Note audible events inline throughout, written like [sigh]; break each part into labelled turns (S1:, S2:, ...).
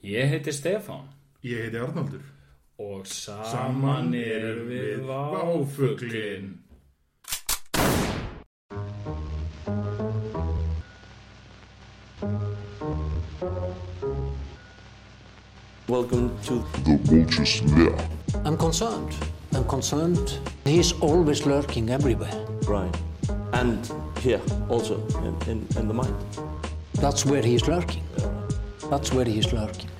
S1: Ég heiti Stefán
S2: Ég heiti Arnaldur.
S1: og saman erum við váfuglinn.
S3: Welcome to.
S4: I'm concerned. I'm concerned. He's always lurking everywhere.
S3: Right. And here also in, in, in the mind.
S4: That's where he's lurking. That's where he's lurking.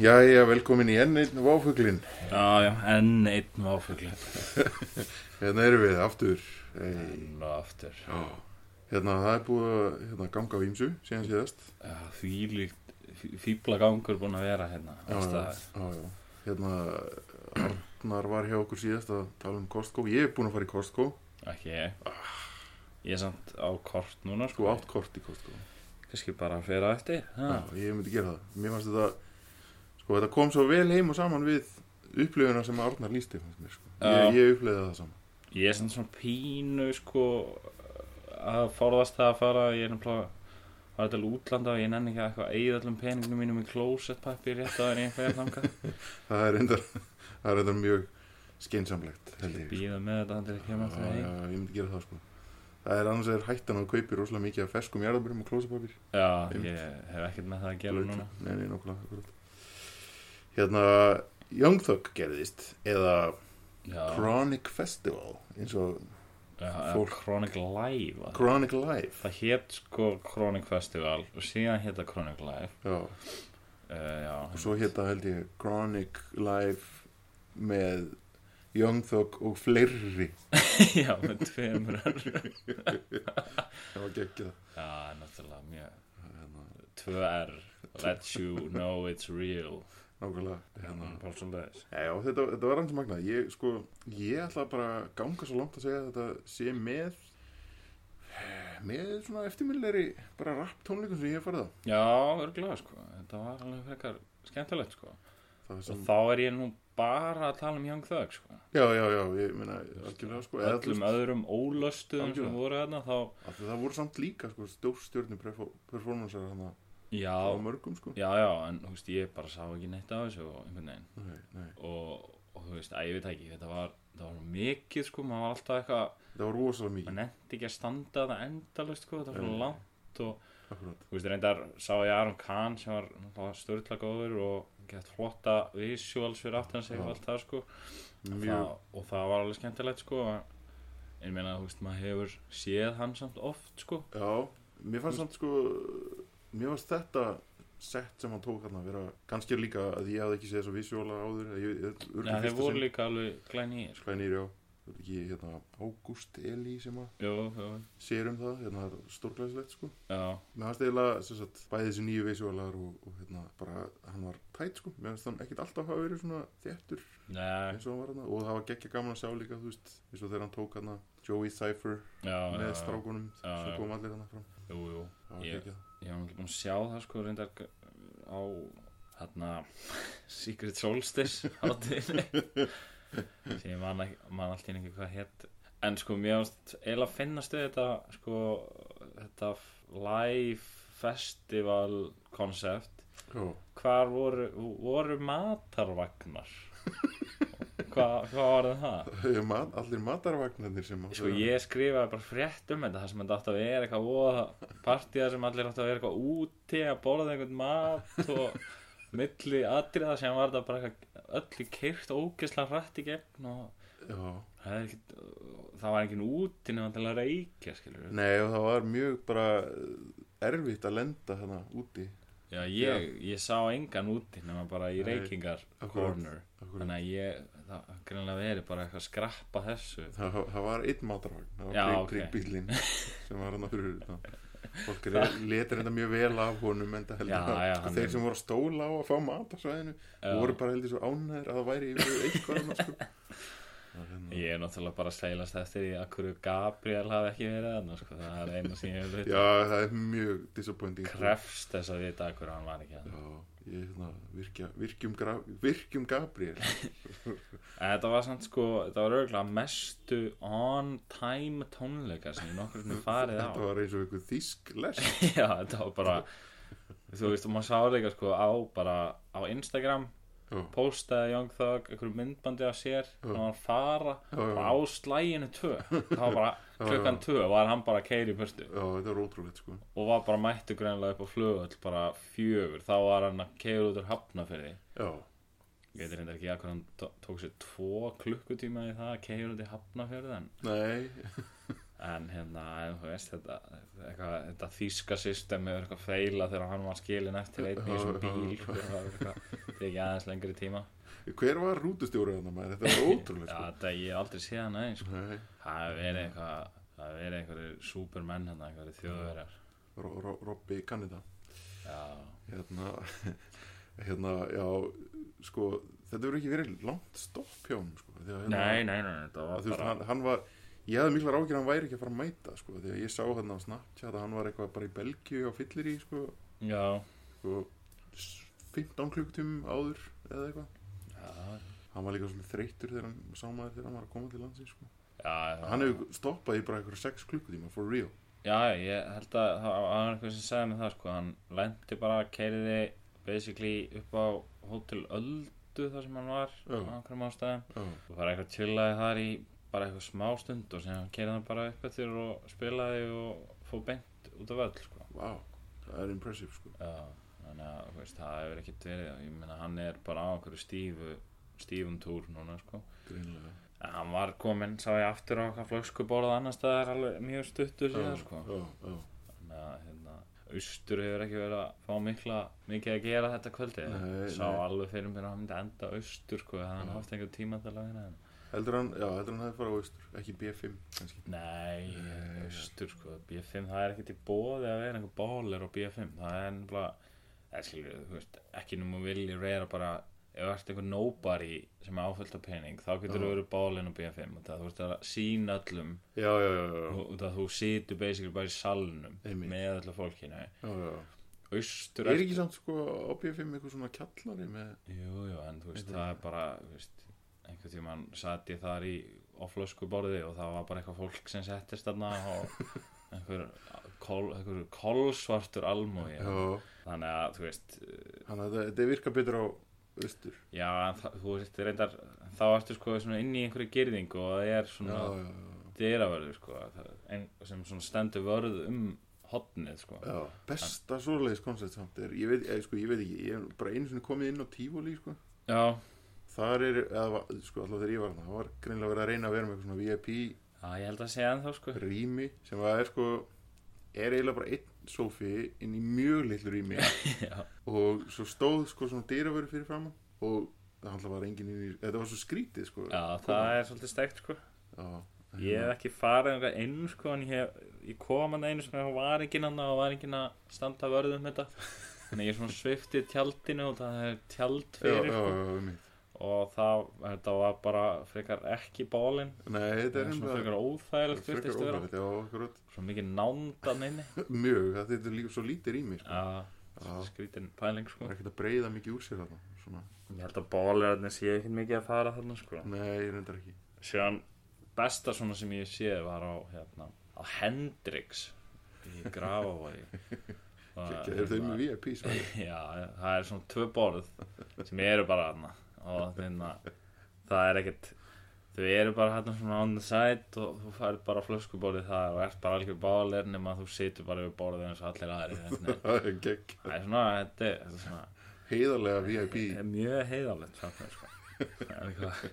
S5: Jæja, velkomin í enn einn váfuglinn.
S1: Já, já, enn einn váfuglinn.
S5: Hérna erum við aftur. Hey.
S1: Nú aftur.
S5: Hérna, það er búið að hérna, ganga á ímsu síðan síðast.
S1: Já, Þvílíkt, fýblagangur búinn að vera hérna. alls staðar.
S5: já, já. Hérna, Arnar var hjá okkur síðast að tala um Costco. Ég er búin að fara í Costco.
S1: Ekki ég. Ég er samt á kort núna,
S5: Sko,
S1: sko.
S5: átt kort í Costco.
S1: Kanski bara að fyrra eftir.
S5: Já,
S1: Já,
S5: ég myndi gera það. Mér fannst þetta, sko, þetta kom svo vel heim og saman við upplifuna sem Arnar lísti, fannst mér, sko.
S1: Já.
S5: Ég, ég upplifaði það saman.
S1: Ég er samt svona pínu sko að forðast það að fara ég er náttúrulega að fara til útlanda og ég nenni ekki að eitthvað eigið allum peningum mínum í klósettpappir rétt að það er einhverja þangað
S5: Það er reyndar, það er reyndar mjög skeinsamlegt, held ég.
S1: býða með þetta hann til að kemja
S5: Já,
S1: aftur
S5: já,
S1: heim
S5: ég myndi gera það sko Það er annars er hættan að þú kaupir rosalega mikið af ferskum jarðabörum og klósapapir
S1: Já, ég hef ekkert með það að gera núna
S5: Nei, nei, nokkulega akkurat. Hérna, Young Thug gerðist eða
S1: Já,
S5: Chronic Festival eins og
S1: já
S5: fólk-
S1: Chronic Live var það.
S5: Chronic Live
S1: Það hétt sko Chronic Festival og síðan hétt það Chronic Live
S5: Já,
S1: uh, Já,
S5: og svo hérna held ég Chronic Live með Young Thug og fleiri
S1: [laughs] já, með tveimur önnur.
S5: Það var geggjað Hérna,
S1: Já, náttúrulega mjög Tvö R Let you know it's real
S5: Nákvæmlega hérna.
S1: Bara svoleiðis.
S5: Já, já, þetta, þetta var hans magnað. Ég, sko, ég ætla bara að ganga svo langt að segja að þetta sé með með svona eftirmilleri bara rapp tónleikum sem ég hef farið á.
S1: Já, örgulega sko, þetta var alveg frekar skemmtilegt sko
S5: Það
S1: og
S5: sem,
S1: þá er ég nú bara að tala um Young Thug sko
S5: já, já, já, ég meina algjörlega, sko, eða þú
S1: öllum
S5: veist,
S1: öðrum ólustuðum sem
S5: Algjörlega.
S1: voru þarna þá,
S5: af því það voru samt líka, sko, stórstjörnum performancer hana
S1: já,
S5: á mörgum, sko.
S1: já, já, en þú veist, ég bara sá ekki neitt af þessu og einhvern veginn
S5: Nei, nei,
S1: og, og þú veist, að ég veit ekki, þetta var, þetta var mikið sko, maður var alltaf eitthvað,
S5: það var rosalega mikið,
S1: maður nefndi ekki að standa það endalaust sko, þetta var
S5: Nei.
S1: svona langt og
S5: akkurat.
S1: þú veist, reyndar sá ég Aron Kahn sem var náttúrulega störtla góður og gett flotta visuals fyrir aftan sig og allt það sko
S5: Mjög,
S1: það, og það var alveg skemmtilegt sko en ég meina þú veist maður hefur séð hann samt oft sko
S5: já, mér fannst samt, sko, mér fannst þetta sett sem hann tók hann að vera kannski líka að ég hafði ekki séð þess að visjóla áður, eða ég, ég,
S1: en þeir voru líka alveg glæni í sko.
S5: Sklænir, já. Það er ekki hérna Ágúst Eli sem að
S1: jú, jú,
S5: sér um það, hérna það er stórglæsilegt sko.
S1: já,
S5: Mér fannst eiginlega, sem sagt, bæði þessi nýju visualar og, og hérna bara, hann var tætt sko. Mér fannst hann ekkit alltaf hafa verið svona þéttur
S1: Nei,
S5: eins og hann var hérna og það var geggja gaman að sjá líka, þú veist, eins og þegar hann tók hérna Joey Cypher
S1: já, já,
S5: með
S1: já,
S5: strákunum
S1: Já, já.
S5: sem kom allir hérna fram.
S1: jú, jú.
S5: Það var
S1: Ég-
S5: geggjað.
S1: ég var ekki búin að sjá það sko reyndar g- á hérna [laughs] Secret Solstice hátíðinni
S5: [laughs]
S1: sem ég man, ekki- man allt í einu ekki hvað hétt en sko mér ást eila finnastu þetta sko þetta f- live festival koncept
S5: [laughs] Já,
S1: hvar voru, voru
S5: [laughs]
S1: matarvagnar Hva, hvað var það?
S5: það er mat, allir matarvagnarnir sem að...
S1: Sko ég skrifaði bara frétt um þetta það sem þetta átti að vera eitthvað voða partíða sem allir átti að vera eitthvað úti að borða einhvern mat og milli atriða sem var þetta bara eitthvað öllu keirt ógeðslega hrætt í gegn og
S5: Já,
S1: það, er ekkit, það var enginn úti nema til að reykja skilur
S5: nei og það var mjög bara eh, erfitt að lenda hérna úti.
S1: Já, ég, ég sá engan úti nema bara í reykingar
S5: akkurat,
S1: corner
S5: akkurat.
S1: þannig að ég, það greinlega verið bara eitthvað að skrappa þessu
S5: Það, það var einn matarvagn, það var
S1: Já,
S5: Já,
S1: ok.
S5: bílinn sem var hann að fyrir það. Fólk letur þetta mjög vel af honum en það heldur
S1: Já,
S5: að
S1: já,
S5: sko,
S1: hann
S5: þeir
S1: er-
S5: sem voru að stóla á að fá mat á svæðinu voru bara heldur svo ánæður að það væri yfir eitthvað annað, sko.
S1: [laughs] ég er náttúrulega bara að seilast eftir því að hverju Gabriel hafi ekki verið þarna sko. það er eina sem ég hef veit
S5: Já, það er mjög disappointing. sko.
S1: krefst þess að hérna. vita að hverju hann var ekki þarna. [laughs]
S5: Já, ég hérna virkja, virkjum, gra, virkjum Gabriel.
S1: En Þetta var samt sko, þetta var auðvitað mestu on time tónleika sem ég nokkur sinni farið á
S5: [laughs] Þetta var eins og einhver þýsk lest
S1: Já, þetta var bara þú veist, og maður sá líka sko á bara á Instagram
S5: Já.
S1: postaði Young Thug einhverju myndbandi af sér og hann var að fara
S5: já.
S1: og á slæginu tvö það var
S5: [laughs]
S1: bara klukkan tvö var hann bara keiri í burtu
S5: Já, þetta var ótrúlegt sko
S1: og var bara mættu greinlega upp á flugöld bara fjögur, þá var hann að keira út úr hafnafyrði
S5: Já,
S1: ég veit reyndar ekki að hvað hann tó- tók sér tvo klukkutíma í það að keira út í hafnafyrði en,
S5: nei
S1: en hérna, en þú veist þetta, eitthvað, þetta þýska system hefur eitthvað feila þegar hann var skilin eftir einn í
S5: [laughs]
S1: þessum bíl sko, það var eitthvað, þetta er ekki aðeins lengri tíma
S5: Hver var rútustjórið hann maður?
S1: [laughs]
S5: Þetta var
S1: Já,
S5: ótrúlegt sko
S1: þetta ég hef aldrei séð hann aðeins sko.
S5: Nei,
S1: það hefur verið eitthvað það hefur verið einhverjir supermenn hérna, einhverjir þjóðverjar
S5: Ro- Ro- Robby Canada
S1: já,
S5: Hérna, [laughs] hérna, já Sko, þetta verður ekki verið langt stopp hjá hann sko Þegar, hérna,
S1: nei, nei, nei, þetta
S5: að
S1: var
S5: þú veist,
S1: bara
S5: hann, hann var ég hefði miklar ágjör að hann væri ekki að fara að mæta sko, því að ég sá hann á Snapchat að hann var eitthvað bara í Belgíu á fyllir í sko,
S1: já,
S5: sko, 15 klukkutum áður eða eitthvað
S1: já,
S5: hann var líka svolítið þreyttur þegar hann sá maður þegar hann var að koma til landsins sko.
S1: já, já.
S5: hann hefur stoppað í bara eitthvað 6 klukkutíma for real
S1: já, já, ég held að það það var einhver sem sagði mig það sko, hann lendi bara keiriði basically upp á hótel Öldu þar sem hann var
S5: Já.
S1: á einhverjum ástæðum
S5: já,
S1: og bara eitthvað chillaði þar í bara eitthvað smá stund og sem hann keiriði hann bara upp eftir og spilaði og fór beint út af öll sko.
S5: vá, það er impressive sko.
S1: já, þannig að þú veist, það hefur ekkert verið ég meina hann er bara á einhverju stífu stífum túr núna sko.
S5: greinilega
S1: en hann var kominn, sá ég aftur á eitthvað flöskuborð annars staðar alveg mjög stuttur síðan sko.
S5: já, já,
S1: Þannig að hérna, austur hefur ekki verið að fá mikla, mikið að gera þetta kvöldi.
S5: Nei,
S1: Sá
S5: nei.
S1: alveg fyrir mér að hann myndi enda austur, sko, þannig að hann haft einhver tíma til að vinna hérna. henn.
S5: heldur hann, já, heldur hann hefði farað á austur ekki B5 kannski
S1: Nei, austur, sko, B5, það er ekkert í bóði að vera einhver bólir á B5. Það er nefnilega, það er skilur, þú veist, ekki nú vilji reyra bara, ef þú ert einhver nobody sem er áfullt af pening, þá getur þú verið bólinn á B5. og Það, þú veist, það er að sína öllum,
S5: já, já, já, já,
S1: og og það þú situr basically bara í salnum
S5: Einmitt.
S1: með öllu fólkinu.
S5: já, já.
S1: Austur
S5: er ekki samt sko á B5 eitthvað svona kjallari með
S1: Jú, jú, en þú veist, það er bara, þú veist, einhvern tímann satt ég þar í oflöskuborði og það var bara eitthvað fólk sem settist þarna
S5: [laughs]
S1: og einhver, kol, einhver kolsvartur almúi.
S5: já,
S1: Þannig að, þú veist,
S5: Þannig að þetta- þetta virka betur á austur.
S1: já, en það, þú veist, reyndar, þá ertu sko svona inn í einhverju girðingu og það er
S5: Já,
S1: svona
S5: já, já.
S1: dyravörður, sko, það, ein, sem svona stendur vörð um hotnið, sko.
S5: já. Besta svoleiðis koncept samt er, ég veit, ég, sko, ég veit ekki, ég hef bara einu sinni komið inn á Tífóli, sko.
S1: Já,
S5: Þar er, eða, var- sko, alltaf þegar ég var hana, það var greinlega verið að reyna að vera með eitthvað svona VIP-rými
S1: já, ég held að segja ennþá, sko.
S5: sem að er, sko, er eiginlega bara einn sófi inn í mjög litlu rými
S1: [laughs] Já,
S5: og svo stóð, sko, svona dyravöru fyrir framann og það handla var enginn inn í, þetta var svo skrítið, sko.
S1: já, það er svolítið steikt, sko.
S5: Já,
S1: Ég hef ekki farið einhver einu sko en ég, hef, ég kom hann einu sko og var ekki hann og var ekki hann að standa vörðum þetta Þannig að ég svona svifti tjaldinu og það er tjald
S5: já, já,
S1: fyrir sko.
S5: já, já, mitt.
S1: og það, þetta var bara frekar ekki bólinn
S5: Nei,
S1: Það
S5: þetta er
S1: er svona
S5: nefnilega-
S1: frekar óþægilegt
S5: frekar
S1: virtist að vera
S5: óhægt, já, akkurat.
S1: Svo mikið nándan inni
S5: [laughs] Mjög, það þetta er líka svo lítið rými sko.
S1: Já,
S5: Já.
S1: skrítin pæling
S5: Það
S1: sko
S5: er ekkert að breyða mikið úr sér þarna svona.
S1: Ég held að bólirarnir sé ekki mikið að fara þarna sko
S5: Nei, ég reyndar ekki
S1: Síðan besta svona sem ég séð var á, hérna, á Hendrix í
S5: [laughs]
S1: Grafavogi
S5: Er þau með VIP svæði?
S1: Já, það er svona tvö borð sem eru bara hérna og þeirna, það er ekkert þau eru bara hérna svona on the side og þú færð bara flöskuborðið það og ert bara algjör bálir nema þú situr bara við borðið eins og allir aðri það
S5: [laughs] Það er gegg
S1: er svona, þetta er, þetta er svona
S5: Heiðarlega VIP
S1: þetta er mjög heiðalegt samt með sko það er eitthvað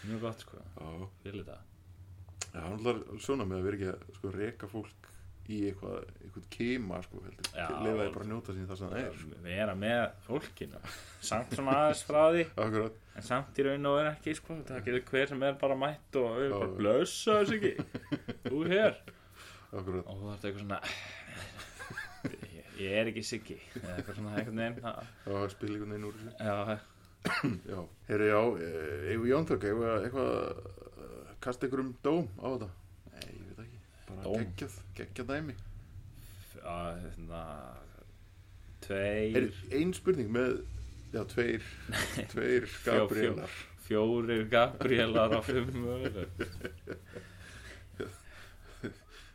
S1: mjög gott sko,
S5: Já,
S1: fyrir þetta
S5: það er alltaf svona með að vera ekki að sko, reka fólk í eitthvað, eitthvað keima sko, heldur
S1: Já.
S5: Lefa þið bara að njóta sín það sem það er sko.
S1: vera með fólkinu samt svona aðeins frá því
S5: Akkurat,
S1: en samt í raun og vera ekki sko, það getur hver sem er bara mætt og við erum
S5: Já.
S1: bara blössa þessu ekki þú er hér
S5: akkurat
S1: og þú þarf eitthvað svona ég, ég er ekki siggi eða eitthvað svona einhvern veginn það-
S5: Það var spil einhvern veginn úr þessu
S1: já,
S5: Já, herri já, e, eigum við Jónþök eigum við að eitthvað eh, kasta ykkur um dóm á þetta Nei, ég veit ekki Bara
S1: Dóm?
S5: geggjað, geggjað dæmi
S1: að, hérna, tveir [laughs]
S5: Er ein spurning með Já, tveir Tveir
S1: fjó-
S5: Gabrielar
S1: fjó- fjórir Gabrielar á fimm möguleikum.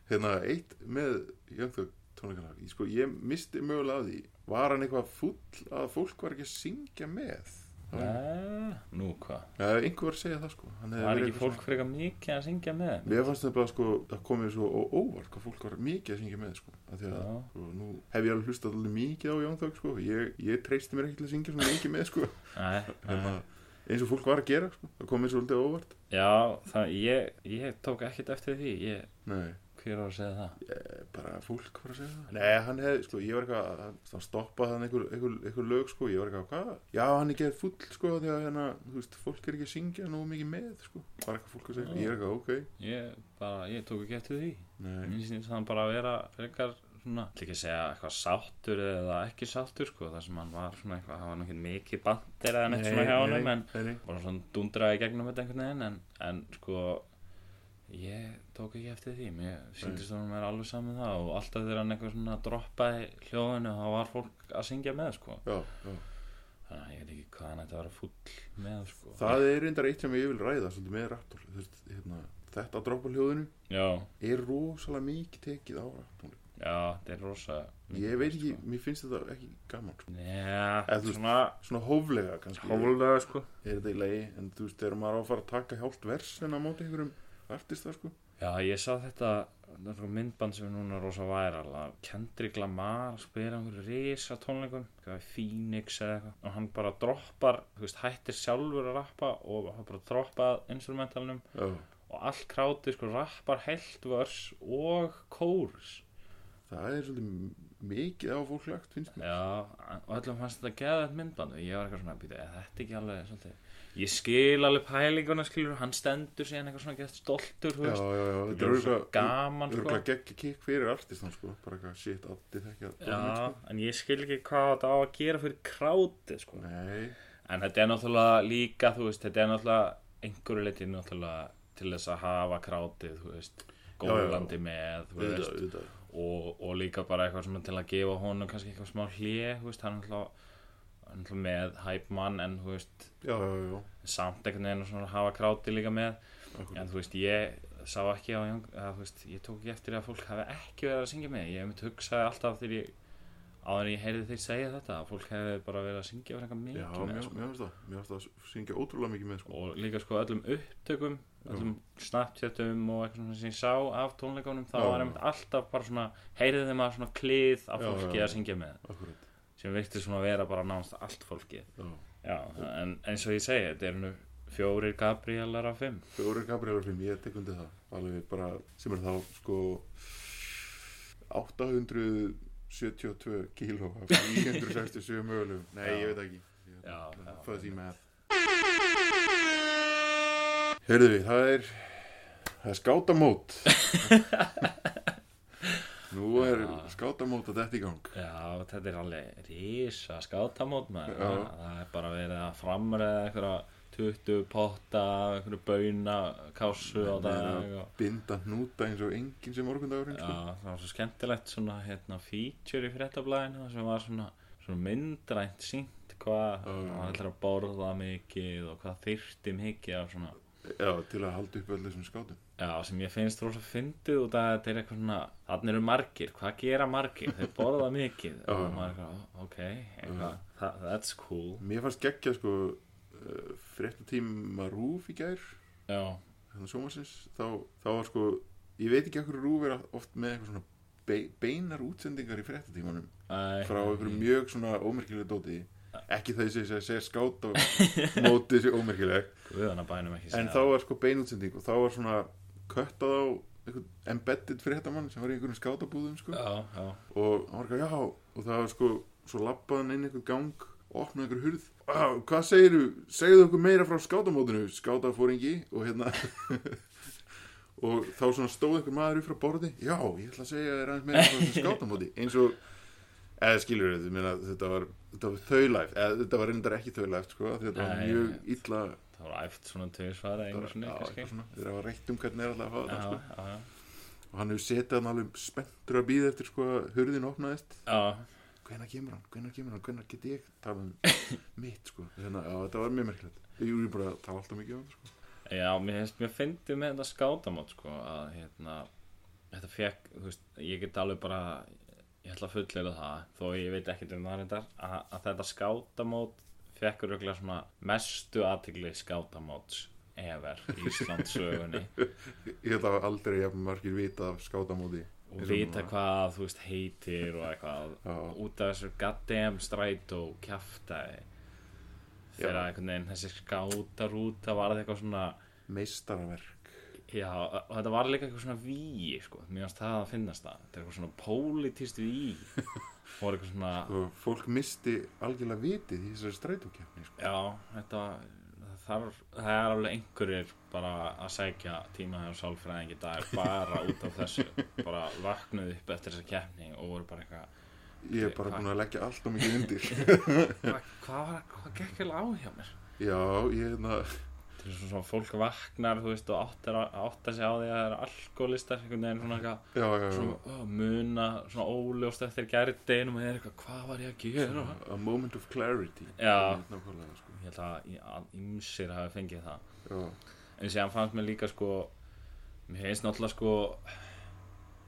S5: hérna eitt með Young tónleikana ég, sko, ég misti mögulega af því var hann eitthvað full að fólk var ekki að syngja með Það var-
S1: Nei, Nú hvað
S5: ja, einhver var að segja það sko Hann hefði
S1: Var
S5: verið
S1: ekki
S5: eitthvað
S1: fólk frekar mikið að syngja með
S5: svona- mér fannst það bara sko að komið svo ó- óvart hvað fólk var mikið að syngja með sko af því að
S1: Já.
S5: sko, nú hef ég alveg hlustað alveg mikið á Young Thug sko ég, ég treysti mér ekki til að syngja svona mikið með sko
S1: Nei, nei.
S5: hérna, eins og fólk var að gera sko það komið svolítið á óvart
S1: Já, það, ég, ég tók ekkert eftir því ég,
S5: nei
S1: Hver var að segja það?
S5: bara fólk var að segja það Nei, hann hefði, sko, ég var eitthvað hann- hann stoppaði hann einhver, einhver, einhver lög, sko ég var eitthvað, hvað? Já, hann er gerð full, sko því að hérna, þú veist, fólk er ekki að syngja nógu mikið með, sko, var eitthvað fólk að segja ég er eitthvað, ok,
S1: Ég, bara, ég tók ekki eftir því
S5: nei,
S1: Mér finnst hann bara að vera frekar svona, ætla ekki að segja eitthvað sáttur eða ekki sáttur sko, þar sem hann var svona eitthvað, það var nú ekki mikið bandir eða neitt svona hjá honum, en
S5: nei, nei.
S1: bara svona dundraði í gegnum þetta einhvern veginn, en, en sko, ég tók ekki eftir því, mér síndist að hann er alveg saman það og alltaf þegar hann eitthvað svona droppaði hljóðinu, þá var fólk að syngja með sko,
S5: Já, já.
S1: þannig að ég veit ekki hvað hann ætti að vera full með sko.
S5: það er reyndar eitt sem ég vil ræða svolítið með raptor, þú veist, hérna þetta að droppa hljóðinu
S1: Já,
S5: er rosalega mikið tekið á raptor
S1: já, þetta er rosa.
S5: ég veit ekki, mér finnst þetta ekki gaman, sko
S1: Já,
S5: Eða þú veist-
S1: svona
S5: svona hóflega, kannski
S1: hólulega sko.
S5: er þetta í lagi, en þú veist, þegar maður á að fara að taka hálft versin á móti einhverjum artista, sko
S1: Já, ég sá þetta þetta er svona myndband sem er núna rosa væral að Kendrick Lamar spyrir einhverju risa tónleikum, hvað er Phoenix eða eitthvað og hann bara droppar, þú veist, hættir sjálfur að rappa og hann bara droppað instrumentalnum
S5: Já,
S1: og allt krátið sko rappar heilt vörs og kórus
S5: það er svolítið mikið á fólk lagt, finnst mér.
S1: Já, og öllum fannst þetta geða þetta myndband og ég var eitthvað svona að býta, eða þetta ekki alveg svolítið Ég skil alveg pælinguna skilur, hann stendur síðan eitthvað svona gett stoltur, þú
S5: Já,
S1: veist
S5: já, já, þetta
S1: er
S5: er
S1: svo
S5: örgulega
S1: gaman, sko.
S5: Örgulega gegn kikk fyrir artistan, sko, bara eitthvað shit, allir þekkja að dómið,
S1: Já, en ég skil ekki hvað þetta á að gera fyrir krátið sko.
S5: sko. Nei,
S1: En þetta er náttúrulega líka, þú veist, þetta er náttúrulega einhverju leiti náttúrulega til þess að hafa krátið, þú veist, gólandi með, þú
S5: auðvitað,
S1: veist,
S5: auðvitað.
S1: og, og líka bara eitthvað svona til að gefa honum kannski eitthvað smá hlje, þú veist, hann er náttúrulega hann er náttúrulega með hæp mann en þú veist,
S5: Já, já, já,
S1: samt einhvern veginn og svona hafa krátið líka með, en þú veist, ég sá ekki á, að, þú veist, ég tók ekki eftir að fólk hafi ekki verið að syngja með, ég hef mitt hugsaði alltaf þegar ég áður en ég heyrði þeir segja þetta, að fólk hefði bara verið að syngja fyrir eitthvað mikið
S5: já,
S1: með,
S5: mér
S1: sko.
S5: mér finnst það, mér finnst það að syngja ótrúlega mikið með, sko.
S1: og líka sko öllum upptökum öllum snapchatum og eitthvað svona sem ég sá af tónleikunum þá
S5: Já.
S1: var einmitt alltaf bara svona heyrið þeim að svona klið af
S5: Já,
S1: fólki
S5: já, já.
S1: að syngja með
S5: Akkurat,
S1: sem virti svona vera bara nánast allt fólki
S5: já.
S1: já, en eins og ég segi þetta eru nú fjórir Gabrielar af fimm
S5: Fjóri Gabriela film, ég tek undir það, alveg bara, sem er þá, sko, 872 kíló af 967 mögulegum. Nei, ég veit ekki. Ég-
S1: já, já,
S5: Fuzzy math Heyrðu, það er það er
S1: [laughs]
S5: skátamót Nú er skátamót að þetta í gang
S1: já þetta er alveg rísa skátamót maður
S5: Já.
S1: það það er bara verið að framræða einhverja 20 potta, einhverju bauna kásu á
S5: Það
S1: dag
S5: er að
S1: og
S5: binda hnúta eins og enginn sem morgundagurinn sko.
S1: Já, það var svo skemmtilegt svona hérna, feature í fréttablaðinu sem var svona, svona myndrænt sínt hvað
S5: Já.
S1: hann ætlar að borða mikið og hvað þyrfti mikið af svona
S5: Já, til að halda upp öll þessum skátum
S1: Já, sem ég finnst rosa fyndið út að þetta er eitthvað svona, þannig eru margir, hvað gera margir, þeir borða mikið
S5: Já.
S1: og maður er eitthvað, ok, eitthvað, that, that's cool
S5: Mér fannst geggja sko uh, fréttatíma rúf í gær
S1: Já,
S5: hérna sjómasins þá, þá var sko, ég veit ekki okkur rúf er oft með eitthvað svona be- beinar útsendingar í fréttatímanum
S1: æ,
S5: frá einhverju mjög svona ómerkilegu dóti ekki það ég segi að segja skátt og móti sé ómerkileg
S1: guðana bænum ekki
S5: en þá var sko beinútsending og þá var svona köttað á einhvern embedded fréttamann sem var í einhverjum skátabúðum sko.
S1: Já, já,
S5: og hann var ekki já og það var sko, svo lappaðan inn einhvern gang opnaði einhver hurð "Á, hvað segiru, segðu okkur meira frá skátamótinu skátafóringi og hérna [laughs] og þá svona stóð einhver maður upp frá borði já, ég ætla að segja þér aðeins meira frá
S1: [laughs]
S5: þessu skátamóti eins og eða skilur þau, meina, þetta var, þetta var þaulæft, eða þetta var reyndar ekki þaulæft sko, af því að þetta
S1: Nei,
S5: var mjög illa
S1: það var æft svona tvisvara
S5: já,
S1: einu svona,
S5: eitthvað
S1: kannski
S5: svona, þegar það var reykt um hvernig er alltaf að fá
S1: Já,
S5: þetta sko.
S1: já, já,
S5: og hann hefur setið hann alveg spenntur að býða eftir sko, að hurðin opnaðist
S1: já
S5: [laughs] hvenær kemur hann, hvenær kemur hann, hvenær get ég talað um mitt sko, þannig að Hérna, já, þetta var mjög merkilegt Jú, ég bara tala alltaf mikið um það sko.
S1: Já, mér finnst mér fyndið með þetta skátamót sko, að hérna þetta fekk, þú veist, ég get alveg bara ég ætla að fullera það þó ég veit ekkert um það reyndar að, að þetta skátamót fekk röglega svona mestu aðtigli skátamóts ever í Íslandsögunni
S5: Ég held að aldrei jafn margir vita af skátamóti
S1: og vita hvað, þú veist, heitir og eitthvað
S5: Já.
S1: út af þessu goddamn strætó kjaftaði
S5: Já.
S1: þegar einhvern veginn þessi skátarúta varð eitthvað svona
S5: Meistarverk
S1: Já, og þetta var líka eitthvað svona víi, sko, mér finnst það að finnast það, þetta er eitthvað svona pólitist víi,
S5: [laughs]
S1: og var eitthvað svona,
S5: og fólk misti algjörlega vitið í þessari strætókjafni sko.
S1: já, þetta, það þarf, það er alveg einhverjir bara að sækja tíma hjá sálfræðingi í dag, bara út af
S5: [laughs]
S1: þessu, bara vaknuð upp eftir þessa keppni og voru bara eitthvað,
S5: Ég er bara búin að leggja alltaf mikið [laughs] undir
S1: hvað, hvað var, hvað gekk vel á hjá mér?
S5: Já, ég hérna, hefna
S1: Þetta er svona svona fólk vaknar, þú veist, og áttar, áttar sig á því að það eru alkoholistar, einhvern veginn svona eitthvað,
S5: Já, já, já
S1: svona, ó, muna svona óljóst eftir gerðdeginum og það er eitthvað, hvað var ég að gera
S5: A moment of clarity
S1: Já.
S5: Nákvæmlega sko
S1: ég held að í- að ýmsir hafi fengið það
S5: Já
S1: en síðan fannst mér líka sko mér finnst náttúrulega sko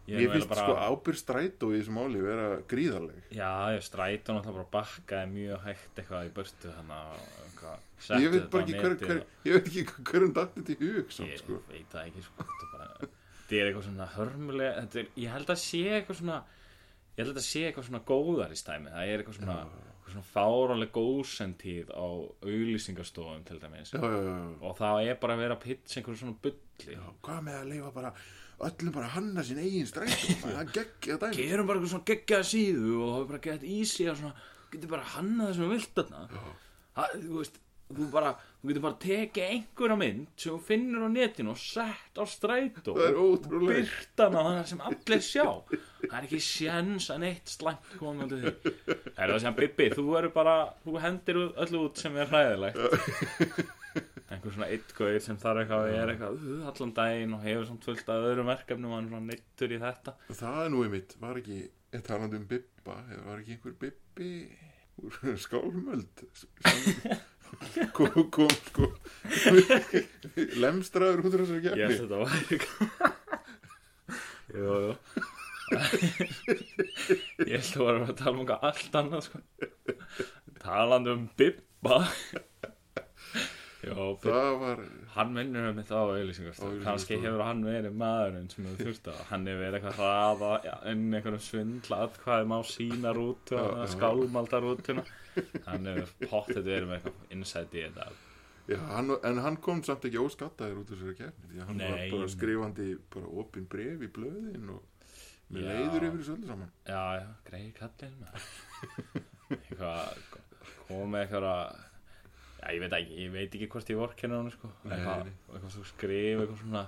S1: er
S5: Ég
S1: nú
S5: finnst
S1: eiginlega
S5: sko ábyrð strætó í þessu máli vera gríðarleg
S1: já, ég strætó náttúrulega bara bakkaði mjög hægt eitthvað í burtu þannig að
S5: Ég veit bara ekki hver, hver, ég veit ekki hverjum dætti til hug samt,
S1: ég
S5: sko.
S1: veit það ekki sko þetta er bara, þetta er eitthvað svona hörmulega þetta er, ég held að sé eitthvað svona ég held að þetta sé eitthvað svona góðar í stæmi það er eitthvað svona, eitthvað svona fárónleg góðsentíð á auglýsingastofum til dæmis
S5: Já, já, já, já
S1: og það er bara að vera að pitcha einhverju svona bulli
S5: Já, Hvað með að leifa bara öllum bara að hanna sín
S1: [laughs]
S5: eigin strætó Það er geggja dæmi
S1: gerum bara eitthvað svona geggjaða síðu og það er bara gett easy að svona getur bara hannað það sem þú vilt þarna það, þú veist, þú bara þú getur bara tekið einhverja mynd sem þú finnur á netinu og sett á strætó
S5: Það er ótrúlega.
S1: og byrta hana þannig sem allir sjá það er ekki sjens að neitt slæmt koma til því það er það sem Bibi, þú verður bara þú hendir öllu út sem er hræðilegt einhver svona ytgauð sem þarf eitthvað er eitthvað uh, allan daginn og hefur svona fullt af öðrum verkefnum og hann er svona neittur í þetta
S5: Það er nú einmitt, var ekki ég talandi um Bibba, eða var ekki einhver Bibbi úr [laughs] skálmöld
S1: [laughs]
S5: sem kom, kom sko [laughs] lemstraður út úr þessari
S1: Ég
S5: gefni
S1: held þetta var eitthvað [laughs] Jú, jú Ég held að varum að tala um eitthvað allt annað sko. Talandi um Bibba Jó, Bibba
S5: það var,
S1: Hann minnir um þetta á auðlýsingarstofu
S5: Á
S1: Kanski hefur hann verið maðurinn sem hefur þurft að Hann hefur verið eitthvað hraða ja, um einhverjum svindla atkvæðum á sína rútu Skálmalda rútuna Hann hefur pottet verið með eitthvað insight í þetta
S5: já, hann, en hann kom samt ekki óskattaður út úr þessari gefni því að hann var
S1: Nei.
S5: bara skrifandi bara opin bref í blöðin og með
S1: Já.
S5: leiður yfir þessu öllu saman
S1: Já, já, greiði kallinn maður. [laughs] Eitthvað, komið eitthvað Já, ég veit ekki, ég veit ekki hvort ég vorkenna hún, sko Eitthvað, eitthvað þú skrif, eitthvað svona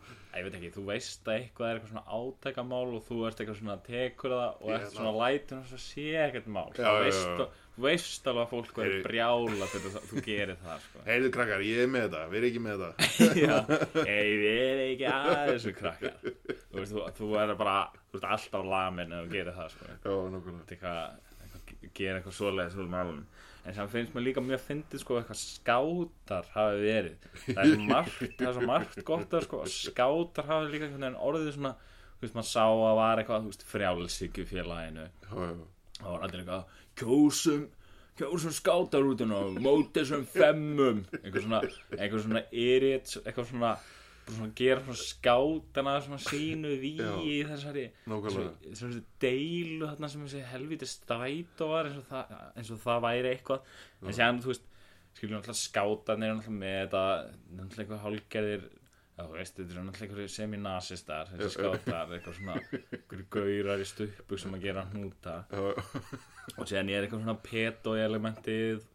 S1: Já, ég veit ekki, þú veist að eitthvað er eitthvað svona átekamál og þú ert eitthvað svona tekur það og
S5: Ég
S1: ert
S5: það.
S1: svona lætur og svo sé ekkert mál
S5: Já,
S1: Þú
S5: já,
S1: veist,
S5: já.
S1: al- Þú veist alveg að fólk er
S5: Heyrðu.
S1: brjála þegar þú- þú gerir það, sko
S5: [laughs] heyrðu krakkar, ég er með þetta, verið ekki með þetta
S1: Já, ei, við erum ekki aðeins við krakkar Þú veist, þú, þú er bara, þú ert alltaf lamin ef þú gerir það, sko
S5: já, nákvæmlega
S1: þetta eitthvað, eitthvað gera eitthvað svoleiðis úr málunum en sem finnst mér líka mjög fyndið sko eitthvað skátar hafi verið það er svo margt, það er svo margt gott að sko að skátar hafi líka einhvern veginn orðið svona þú veist maður sá að var eitthvað þú veist frjálsíkjufélaginu
S5: já, já.
S1: það var allir eitthvað kjósum kjósum skátarútinu og móti þessum femmum eitthvað svona eitthvað svona irit eitthvað svona bara svona gera svona skátana svona sínu því í þessari
S5: Nákvæmlega.
S1: þessari- þessari deilu þarna sem þessi helviti strætó var eins og það, eins og það væri eitthvað en séðan þú veist skilur náttúrulega skátanir náttúrulega með þetta náttúrulega eitthvað hálgerðir Já, þú veist, þetta eru náttúrulega einhverju seminasistar, þessi skátar, eitthvað svona, einhverju gaurar í stuppu sem að gera hnúta og séðan ég er eitthvað svona pedo í elementið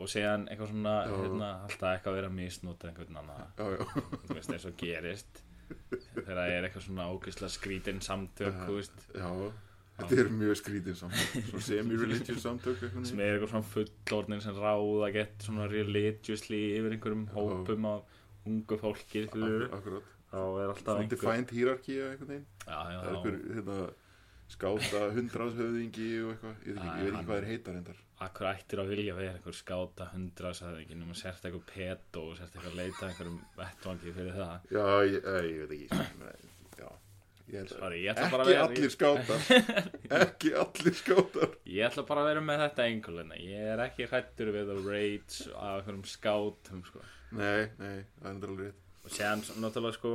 S1: og séðan eitthvað svona hérna, alltaf eitthvað að vera að misnota einhvern annan
S5: Já, já.
S1: þú veist eins og gerist þegar það er eitthvað svona ógeðslega skrítin samtök þú veist,
S5: Já, þetta er mjög skrítið samtök [laughs] Svo semi-religious samtök einhvern veginn.
S1: sem er eitthvað svona fullorðin sem ráða gett svona religiously yfir einhverjum hópum af ungu fólki skilurðu.
S5: Akkurat
S1: þá er alltaf
S5: Undefined hierarchy eða einhvern veginn
S1: já, já,
S5: Það er
S1: já,
S5: einhver hérna, skáta hundraðshöfðingi og eitthvað, ég veit ekki, ég veit
S1: Hann-
S5: ekki hvað þeir heita reyndar
S1: Akkur ættir að vilja vera einhver skáta um hundra sæðingi nema sért eitthvað pedo og sért eitthvað að leita að einhverjum vettvangi fyrir það
S5: Já, ég, eh, ég veit ekki Nei, Já, ég held
S1: Sorry, ég ætla bara að
S5: Ekki
S1: vera
S5: allir [laughs] skátar Ekki allir skátar
S1: Ég ætla bara að vera með þetta engulina Ég er ekki hrættur við að rage af einhverjum skátum sko.
S5: Nei, nei, það er endur alveg rétt
S1: og séðan náttúrulega sko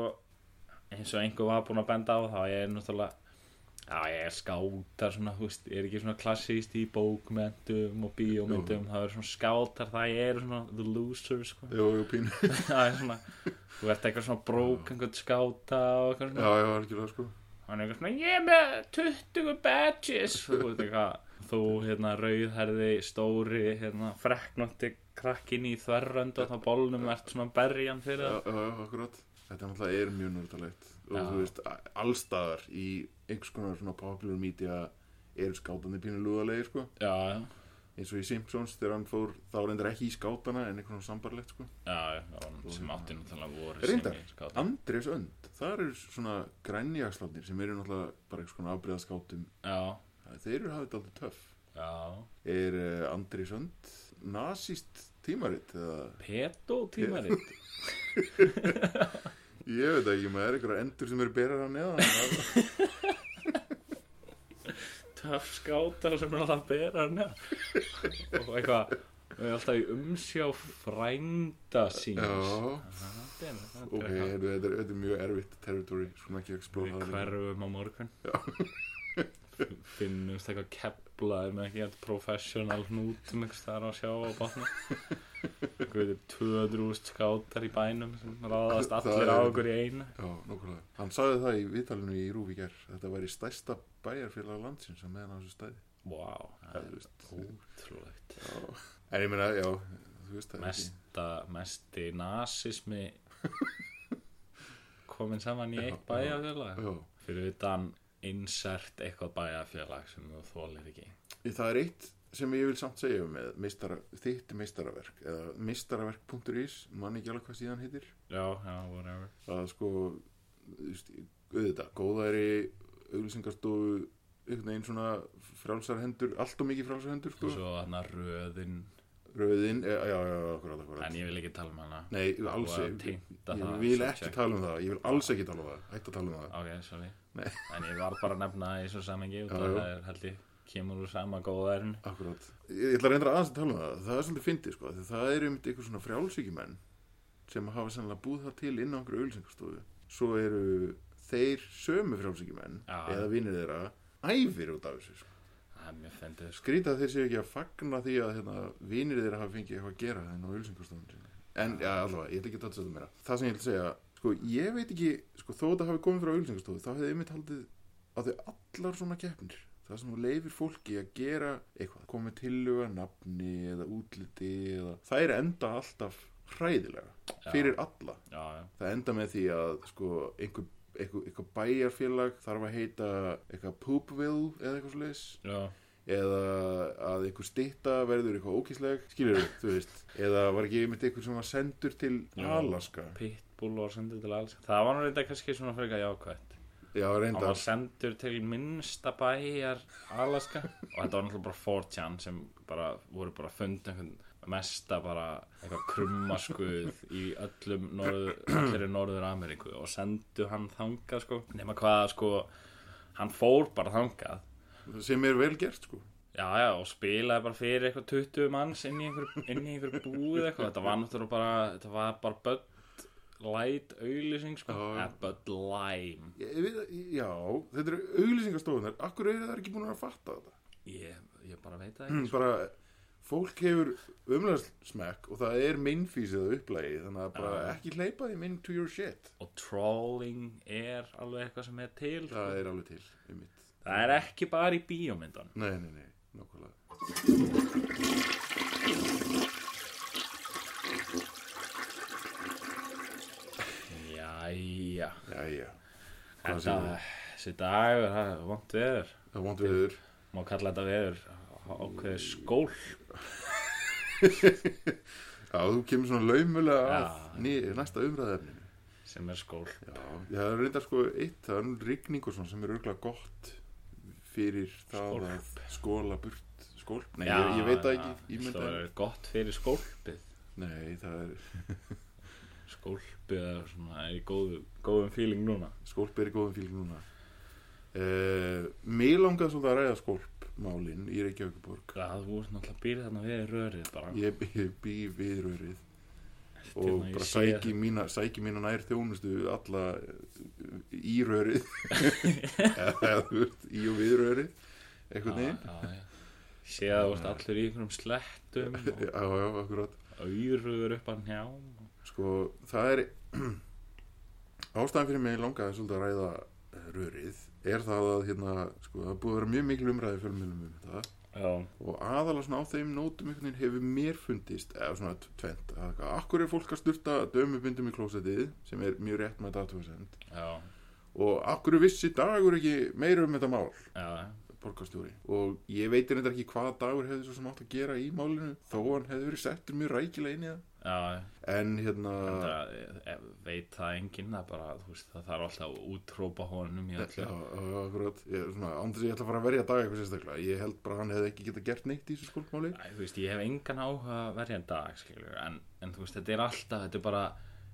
S1: eins og einhver var búinn að benda á þá ég er náttúrulega já ég er skátar svona þú veist, ég er ekki svona klassist í bókmyndum og bíómyndum það er svona skátar það ég er svona the loser
S5: [laughs]
S1: sko
S5: Jú, jú, pínu Já,
S1: það er svona þú ert eitthvað svona brók einhvern skáta og eitthvað svona
S5: já, algjörlega sko
S1: hann er eitthvað svona ég er með 20 badges þú veit eitthvað þú hérna rauðherði stóri hérna frekknótti krakkin í þverrönd og þá bólnum ert svona berjan fyrir
S5: Já,
S1: það
S5: já, já, akkurat Þetta er náttúrulega er mjög nördalegt Og
S1: Já.
S5: þú veist, a- allstaðar í einhvers konar svona popular media eru skátandi pínu lúðalegi sko
S1: já já
S5: eins og í Simpsons þegar hann fór þá reyndar ekki í skátana en eitthvað sambarlegt sko
S1: Já, já, já, sem átti náttúrulega voru
S5: Reyndar,
S1: sem í skátum.
S5: Andrés Önd þar eru svona grænjagsláttnir sem eru náttúrulega bara einhvers konar afbreyðaskátum
S1: Já,
S5: þeir eru hafið alltaf töff
S1: já
S5: er uh, Andrés Önd nazist tímarit eða
S1: Pedo tímarit
S5: ég veit ekki maður er einhverja endur sem eru berar hann eða
S1: [laughs] Töff skátar sem er alltaf að bera hann Og eitthvað Við erum alltaf í umsjá frænda síns
S5: já,
S1: Þetta er- þetta
S5: ok,
S1: er eitthvað.
S5: heyrðu, þetta er, þetta er mjög erfitt territory, skulum ekki explóra
S1: Við
S5: það
S1: hverfum á morgun Finnumst eitthvað kepla með ekki eitthvað professional hnútum eitthvað þar á sjá á bátna
S5: [laughs]
S1: Guðið 200 skátar í bænum sem ráðast
S5: Það
S1: allir á
S5: er-
S1: okkur í einu
S5: já, nokkulega hann sagði það í viðtalinu í Rúvíkjær þetta væri stærsta bæjarfélag landsins að meðan á þessu stæði
S1: Vá, það
S5: Það er
S1: er
S5: víst-
S1: ótrúlegt
S5: en ég meina, já, þú veist það er ekki-
S1: mesta, mesti nasismi komin saman í eitt
S5: Já,
S1: bæjarfélag
S5: já
S1: fyrir utan insert eitthvað bæjarfélag sem þú þólir ekki
S5: Það er eitt sem ég vil samt segja um með meistara, þitt meistaraverk eða meistaraverk.is mann ekki alveg hvað síðan heitir
S1: já, já, whatever
S5: að sko, þú veist, auðvitað, góðæri auglýsingarstofu einhvern veginn svona frálsar hendur, allt og mikið frálsar hendur
S1: og
S5: sko.
S1: svo hann röðin
S5: röðin, e, já, já, já, akkurat, akkurat
S1: en ég vil ekki tala með hana
S5: Nei, alls
S1: Og að
S5: ekki,
S1: týnda
S5: ég
S1: það,
S5: vil
S1: sem
S5: ekki
S1: sagt.
S5: tala um það, ég vil alls ekki tala um það, hætt að tala um það
S1: ok, sorry
S5: Nei.
S1: en ég var bara að nefna það í svo samengi og
S5: Já,
S1: það
S5: já.
S1: er held ég kemur úr sama góðærin
S5: Akkurat, ég ætla að reynda aðeins að tala um það, það er svolítið fyndið sko, því það eru einmitt einhver svona frjálsíkjumenn sem hafa sennilega búið það til inn á einhverju auglýsingastofu, svo eru þeir sömu frjálsíkjumenn
S1: Já.
S5: eða vinnir þeirra æfir út af þessu sko.
S1: það er mjög fendið sko.
S5: skrýta að þeir séu ekki að fagna því að hérna, vinir þeirra hafa fengið eitthvað að gera þenn á auðlýsingarstofun sinni en ja, allavega, ég ætla ekki að tala þetta meira það sem ég ætla að segja, sko, ég veit ekki sko, þó að þetta hafi komið frá auðlýsingarstofu þá hefði einmitt haldið að þau allar svona keppnir það sem þú leifir fólki að gera eitthvað, komið tilluga nafni eða útliti eða þær enda alltaf hræðilega fyrir alla
S1: já, já,
S5: það enda með því að sko, einhver, einhver, einhver bæjarfélag þarf að heita eitthvað Poopville eða eitthvað svo
S1: já,
S5: eða að einhver stitta verður eitthvað ókísleg, skilur
S1: [laughs]
S5: þú veist eða var ekki einmitt einhver sem var sendur til
S1: Já.
S5: Alaska
S1: pitbull og sendur til alls það var nú reynda kannski svona frekar jákvætt
S5: já,
S1: hann var
S5: reyndar,
S1: sendur til minnsta bæjar Alaska og þetta var náttúrulega bara 4chan sem bara voru bara að funda einhvern mesta bara eitthvað krummaskuð í öllum norður, allir í norður Ameríku og sendu hann þangað sko nema hvað sko hann fór bara þangað
S5: sem er vel gert sko
S1: Já, já, og spilaði bara fyrir eitthvað 20 manns inn í einhver, inn í einhver búið eitthvað. Þetta var náttúrulega bara, þetta var bara Bud Light auðlýsing, sko.
S5: Já, já.
S1: Eða Bud Lime.
S5: ég, ég veit, já, þetta eru auglýsingastofunar akkur eru það ekki búin að fatta þetta
S1: Ég, ég bara veit það ekki, sko.
S5: bara, fólk hefur umlæðsmekk og það er minnfísið að upplægi þannig að bara
S1: Já.
S5: ekki hleypa því minn to your shit
S1: og trolling er alveg eitthvað sem er til sko.
S5: það er alveg til, einmitt
S1: það er ekki bara í bíómyndan
S5: nei, nei, nei, nokkulega
S1: jæja
S5: jæja,
S1: þetta,
S5: Hvað segirðu?
S1: þessi dagur, það er vont veður
S5: það vant viður
S1: má kalla þetta veður ákveði skól
S5: Já, þú kemur svona laumulega
S1: Já.
S5: að ný, næsta umræðefninu.
S1: sem er skól
S5: Já, það er reyndar sko eitt, það er nú rigning og svona sem er örgulega gott fyrir það að skóla burt skólp, nei, ég, ég veit það ekki ég
S1: Það
S5: myndi,
S1: er gott fyrir skólpið
S5: nei, það er
S1: Skólpið er svona í góðu, góðum feeling núna
S5: skólp er í góðum fíl núna uh, mér langaði svolítið að ræða skólpmálin í Reykjavíkuborg
S1: Hvað þú vorst náttúrulega býrið þarna við rörið bara
S5: ég, ég bý við rörið og
S1: Hérna, ég
S5: bara
S1: sé
S5: sæki
S1: þetta.
S5: mína, sæki mína nær þjónustu alla eh, í rörið [laughs] eða þú veist, í og við rörið einhvern veginn
S1: Já, já, já. Sé að þú vorst allir í einhverjum slettum og
S5: [laughs] já, já, akkurat [laughs]
S1: auðrugur upp að njám
S5: sko, það er [clears throat] ástæðan fyrir mig langaði svolítið að ræða eh, rörið er það að hérna, sko, það er búið að vera mjög mikil umræði fjölmjölum um þetta
S1: Já,
S5: og aðalega svona á þeim nótum einhvern veginn hefur mér fundist eða svona tvent að eitthvað, akkur er fólk að styrta dömubindum í klósetið sem er mjög rétt með datasend
S1: já,
S5: og akkur vissi dagur ekki meira um þetta mál
S1: já
S5: borgarstjóri og ég veitir þetta ekki hvað dagur hefði svo sem átt að gera í málinu þó hann hefði verið settur mjög rækilega inn í það
S1: Já,
S5: en hérna
S1: það eh, veit það enginn það bara, þú veist, það þarf alltaf að útrópa honum í
S5: Já,
S1: öllu
S5: já, akkurat, ég, svona, andris ég ætla að fara að verja dag eitthvað sérstaklega, ég held bara að hann hefði ekki geta gert neitt í þessu skólpmáli
S1: Æ, þú veist, ég hef engan áhuga að verja en dag, skilur, en, en þú veist, þetta er alltaf, þetta er bara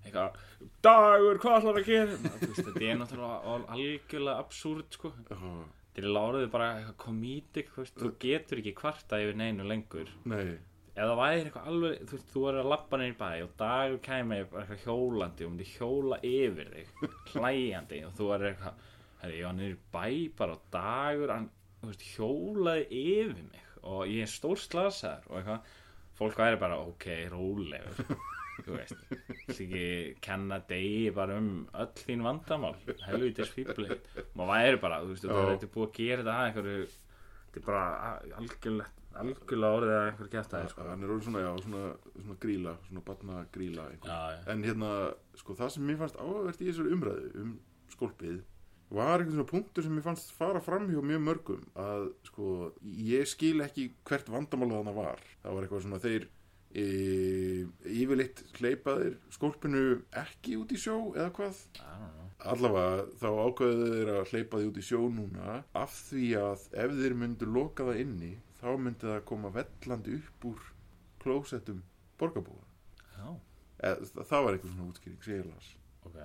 S1: eitthvað, dagur, hvað ætlar að gera? Ná, þú veist, þetta er náttúrulega al- algjörlega absúrt, sko.
S5: Já,
S1: Þetta er láraðið bara eitthvað komítik, þú veist, þú getur ekki kvarta yfir neinu lengur.
S5: Nei,
S1: Ef það væri eitthvað alveg, þú veist, þú er að labba niður í bæ og dagur kæmi bara eitthvað hjólandi og myndi hjóla yfir þig, hlæjandi og þú er eitthvað, herri, ég var niður í bæ bara og dagur, hann, þú veist, hjólaði yfir mig og ég er stór slasaður og eitthvað, fólk væri bara, ok, rólegur, [laughs] þú veist, þess ekki kenna degi bara um öll þín vandamál, helvitis fíbleik, maður væri bara, þú veist, þú
S5: Já.
S1: er eitthvað búið að gera þetta að einhverju, þetta er bara a- algjörlega, algjörlega orðið að einhver geta
S5: sko. hann er orðið svona, já, svona, svona gríla svona batna gríla
S1: Já, já.
S5: en hérna, sko, það sem mér fannst áhugavert í þessari umræðu um skólpið var einhvern svona punktur sem mér fannst fara fram hjá mjög mörgum að, sko, ég skil ekki hvert vandamála þarna var það var eitthvað svona þeir e, yfirleitt hleypaðir skólpinu ekki út í sjó eða hvað
S1: I don't know.
S5: Allavega þá ákveðu þeir að hleypa því út í sjó núna af því að ef þeir myndu loka það inni þá myndi það koma vellandi upp úr klósettum borgarbúa.
S1: Já,
S5: Eð, Eh, það var eitthvað svona útskýring sem ég las.
S1: ok.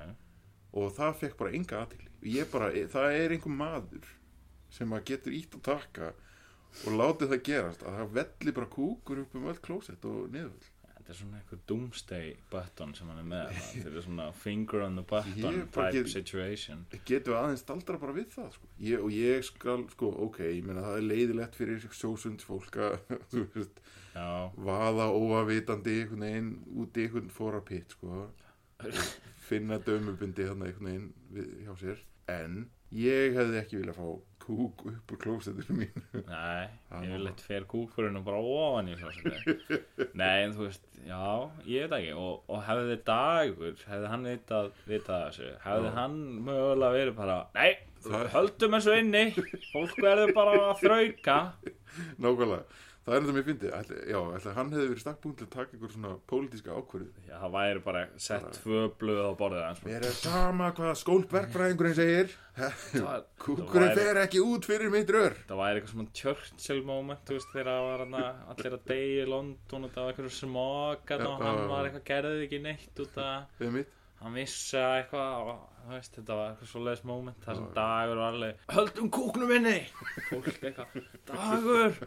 S5: Og það fekk bara enga aðtili. Ég bara, eh, það er einhver maður sem að getur ítt að taka og látið það gerast að það velli bara kúkur upp um öll klósett og niðurvöll.
S1: Þetta er svona eitthvað doomsday button sem hann er með. þarna. Þetta er svona finger on the button
S5: Ég bara
S1: type
S5: get-
S1: situation.
S5: getum við aðeins staldra bara við það sko. ég, og ég skal, sko, ok ég meina það er leiðilegt fyrir sjósund fólk að, [laughs] þú veist,
S1: Já,
S5: vaða óavitandi einhvern veginn út í einhvern fórapitt, sko finna dömubundi hann einhvern veginn við, hjá sér, en ég hefði ekki viljað fá kúk upp úr klósetinu mín
S1: nei,
S5: Já,
S1: ég vil
S5: mamma.
S1: eitt fer kúkurinn og bara ofan í þessu.
S5: [laughs]
S1: nei, en þú veist, já, ég veit ekki. Og, og hefði dagur, hefði hann vitað, vitað þessu, hefði hann mögulega verið bara, nei,
S5: Það-
S1: höldum þessu inni, fólk verður bara að þrauka.
S5: [laughs] nákvæmlega, það er þetta mér fyndið Ætli- já, ætla, hann hefði verið stakkbúin til að taka einhver svona pólitíska ákvörðu
S1: Já, það væri bara sett tvö blöð á borðið hans.
S5: Mér er sama hvað skólbergfræðingurinn segir
S1: Það-
S5: Kúkurinn
S1: það væri-
S5: fer ekki út fyrir mitt rör
S1: Það væri eitthvað svona Churchill moment, þú veist, þegar það var hana, allir að deyja í London og það var eitthvað smokan og
S5: Já,
S1: hann
S5: já, já.
S1: var eitthvað gerðið ekki neitt út að
S5: Eða mitt
S1: hann vissi að eitthvað, og, þú veist, þetta var eitthvað svoleiðis moment, þar sem dagur var alveg, höldum kúknum inni, fólk eitthvað, dagur,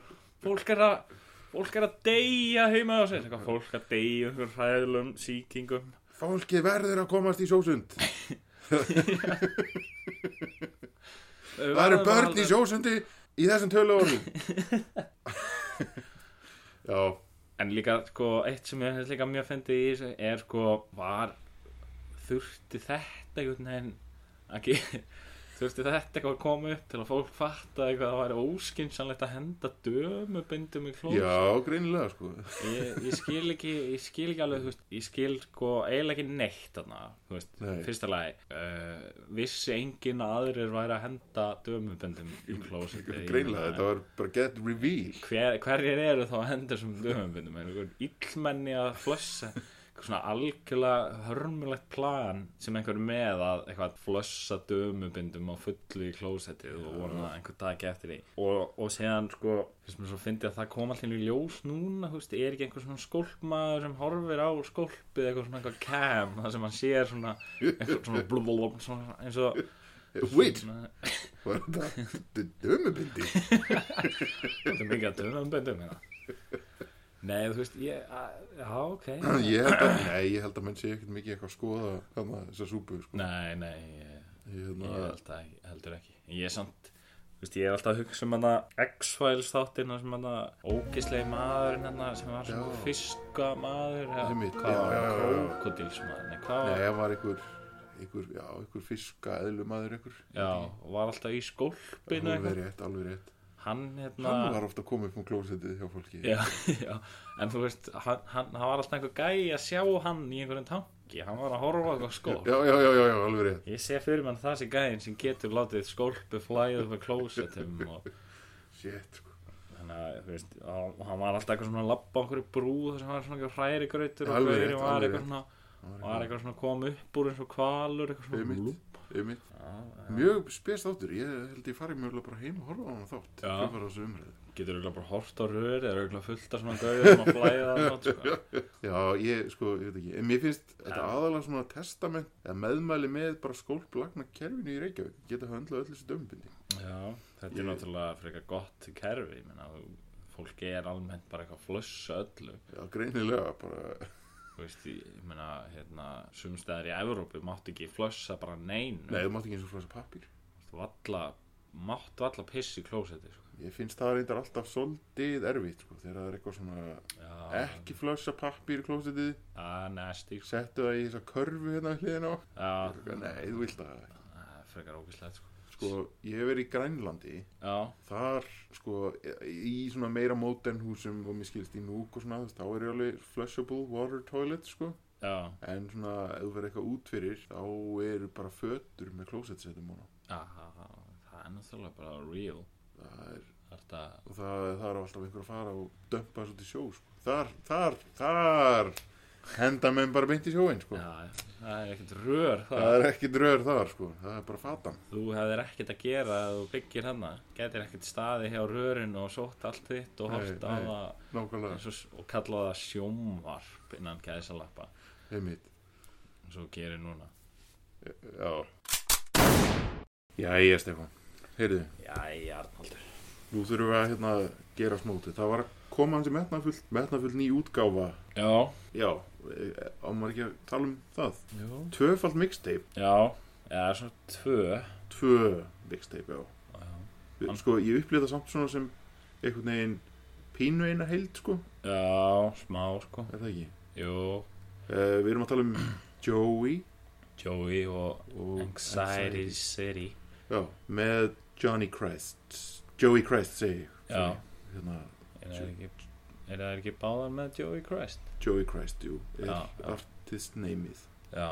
S1: fólk er að, fólk er að deyja heima á sér, eitthvað, fólk að deyja einhverjum hræðlum, sýkingum,
S5: Fólki verður að komast í sjósund Það eru börn í sjósundi í þessum tölu
S1: [laughs]
S5: orðum Já,
S1: En líka, sko, eitt sem ég hef líka mjög fyndið í þessu er, sko, var þurfti þetta einhvern veginn að gera [laughs] þurfti þetta eitthvað að koma upp til að fólk fatta eitthvað að það væri óskynsanlegt að henda dömubindum í klóð
S5: já, greinilega sko
S1: ég, ég skil ekki, ég skil ekki alveg, þú veist, ég skil sko eiginlega ekki neitt þarna, þú veist,
S5: Nei.
S1: fyrsta lagi, uh, vissi enginn að aðrir væri að henda dömubindum
S5: [laughs]
S1: í klóð
S5: Greinilega, þetta var bara get reveal
S1: hver, hverjir eru þá að henda þessum döfum finnum við, einhver illmenni að flossa svona algjörlega hörmulegt plan sem einhver er með að eitthvað flössa dömubindum á fullu í klósettið og vona að einhver dag eftir því og, og séðan sko, finnst mér svo fyndi að það kom alltaf í ljós núna, þú veist, er ekki einhver svona skólpmaður sem horfir á skólpið eitthvað svona eitthvað cam, það sem hann sér svona, einhver svona blubblub svona eins og
S5: Wait,
S1: svona,
S5: [laughs] var þetta dömubindi?
S1: þetta er mikið að dömubindum hérna Nei, þú veist, ég, að- já, ok
S5: Ég held að, nei, ég held að menn sé ekkert mikið eitthvað að skoða þarna þessa súpu, sko.
S1: Nei, nei, ég
S5: Ég
S1: Ég
S5: hérna,
S1: held að, heldur ekki Ég er samt, þú veist, ég er alltaf að hugsa um hana X-Files þáttinn og sem hana ógislegi maðurinn hana sem var svona
S5: Já.
S1: fiska maður
S5: Einmitt,
S1: hvað
S5: já,
S1: var
S5: já,
S1: hann,
S5: já, já.
S1: krokodilsmaður Nei, hvað
S5: nei,
S1: var,
S5: það var einhver, einhver, já, einhver fiska, eðlumadur einhver.
S1: já, og var alltaf í skólpinu
S5: Alveg
S1: eitthvað
S5: rétt, alveg rétt.
S1: Hann, hérna
S5: Hann var ofta komið upp um klósetið hjá fólki.
S1: Já, [laughs] já, en þú veist, hann, hann, hann var alltaf einhver gæi að sjá hann í einhverjum tanki Hann var að horfa á eitthvað sko. skól
S5: Já, já, já, já, já, alveg rétt.
S1: Ég sé fyrir mann það sem gæin sem getur látið skólpu flæðið upp að klósetum og
S5: Shit, sko.
S1: þannig að þú veist, hann hann var alltaf eitthvað svona að labba á einhverju brú þar sem var svona eitthvað hræri gröytur og
S5: Alveg
S1: gaurinn
S5: rétt,
S1: var eitthvað
S5: alveg rétt.
S1: svona var eitthvað svona að koma upp úr eins og kvalur eitthvað svona
S5: Einmitt.
S1: blúpp.
S5: Einmitt.
S1: Já,
S5: Mjög spes þáttur, ég held ég farið mjög bara heim og horfa á hann þátt.
S1: Já.
S5: Hvað var þessu umræðu?
S1: getur auðvitað bara hort á röri eða auðvitað fullt af svona gauður sem að flæða þarna, sko.
S5: [laughs] Já, ég, sko, ég veit ekki, en mér finnst þetta aðalega svona testament, eða meðmæli með bara skólplagna kerfinu í Reykjavík, geta höndlað öll þessi dömbindi.
S1: Já, þetta
S5: Ég-
S1: er náttúrulega frekar gott kerfi, ég meina þú- fólk er almennt bara eitthvað að flussa öllu
S5: Já, greinilega, bara,
S1: þú veist, ég ég meina, hérna sumstæðar í Evrópu mátt ekki flussa bara neinu,
S5: nei, þú mátt ekki eins og flasa pappir.
S1: valla mátt valla piss í klósetti, sko
S5: Ég finnst það reyndar alltaf svolítið erfitt, sko, þegar það er eitthvað svona
S1: Já,
S5: ekki flasa pappir í klósitið,
S1: það er nasty, sko
S5: settu það í þessa körfu hérna hliðin á.
S1: Já,
S5: Nei, þú vilt það. ekki.
S1: það er frekar ógislegt sko.
S5: Sko, ég hef verið í Grænlandi
S1: Já,
S5: þar sko í svona meira modern húsum og mér skilst í núk og svona þú veist, þá er ég alveg flushable water toilet sko
S1: já,
S5: en svona ef þú verður eitthvað út fyrir þá eru bara fötur með klósetsetum og
S1: já, það er náttúrulega bara real
S5: það er
S1: Þetta,
S5: og það, það eru alltaf einhver að fara og dömpa svo til sjó sko. þar, þar, þar henda menn bara beint í sjóin sko
S1: já, það er ekkert rör það.
S5: það er ekki dröður þar sko það er bara fatan
S1: Þú hefðir ekkert að gera að þú byggir hana Getir ekkert staði hjá rörinu og sótt allt þitt og
S5: Nei,
S1: hort á
S5: nei.
S1: það
S5: nákvæmlega,
S1: eins og, og kalla það sjómvarp innan gæðsalappa
S5: heimitt
S1: eins og þú gerir núna
S5: já jæja Stefán, heyrðu
S1: Jæja, Arnaldur
S5: Nú þurfum við að hérna, gera smótið. Það var að koma hans í metnafull, metnafull ný útgáfa.
S1: Já,
S5: Já, eh, á maður ekki að tala um það.
S1: Jú.
S5: Tvöfald mixtape,
S1: já, eða svona tvö
S5: tvö mixtape, já.
S1: Já.
S5: Við- Sko, ég upplýði það samt svona sem einhvern veginn pínu eina heild, sko.
S1: Já, smá sko
S5: Er það ekki?
S1: Jú,
S5: Uh, við erum að tala um [clears throat] Joey
S1: Joey og
S5: og
S1: Anxiety City
S5: Já, með Johnny Christ. Joey Christ, segi ég.
S1: Já.
S5: Hérna,
S1: Er það ekki, er það ekki báðar með Joey Christ?
S5: Joey Christ, jú, er
S1: Já, já.
S5: artist neymið.
S1: Já,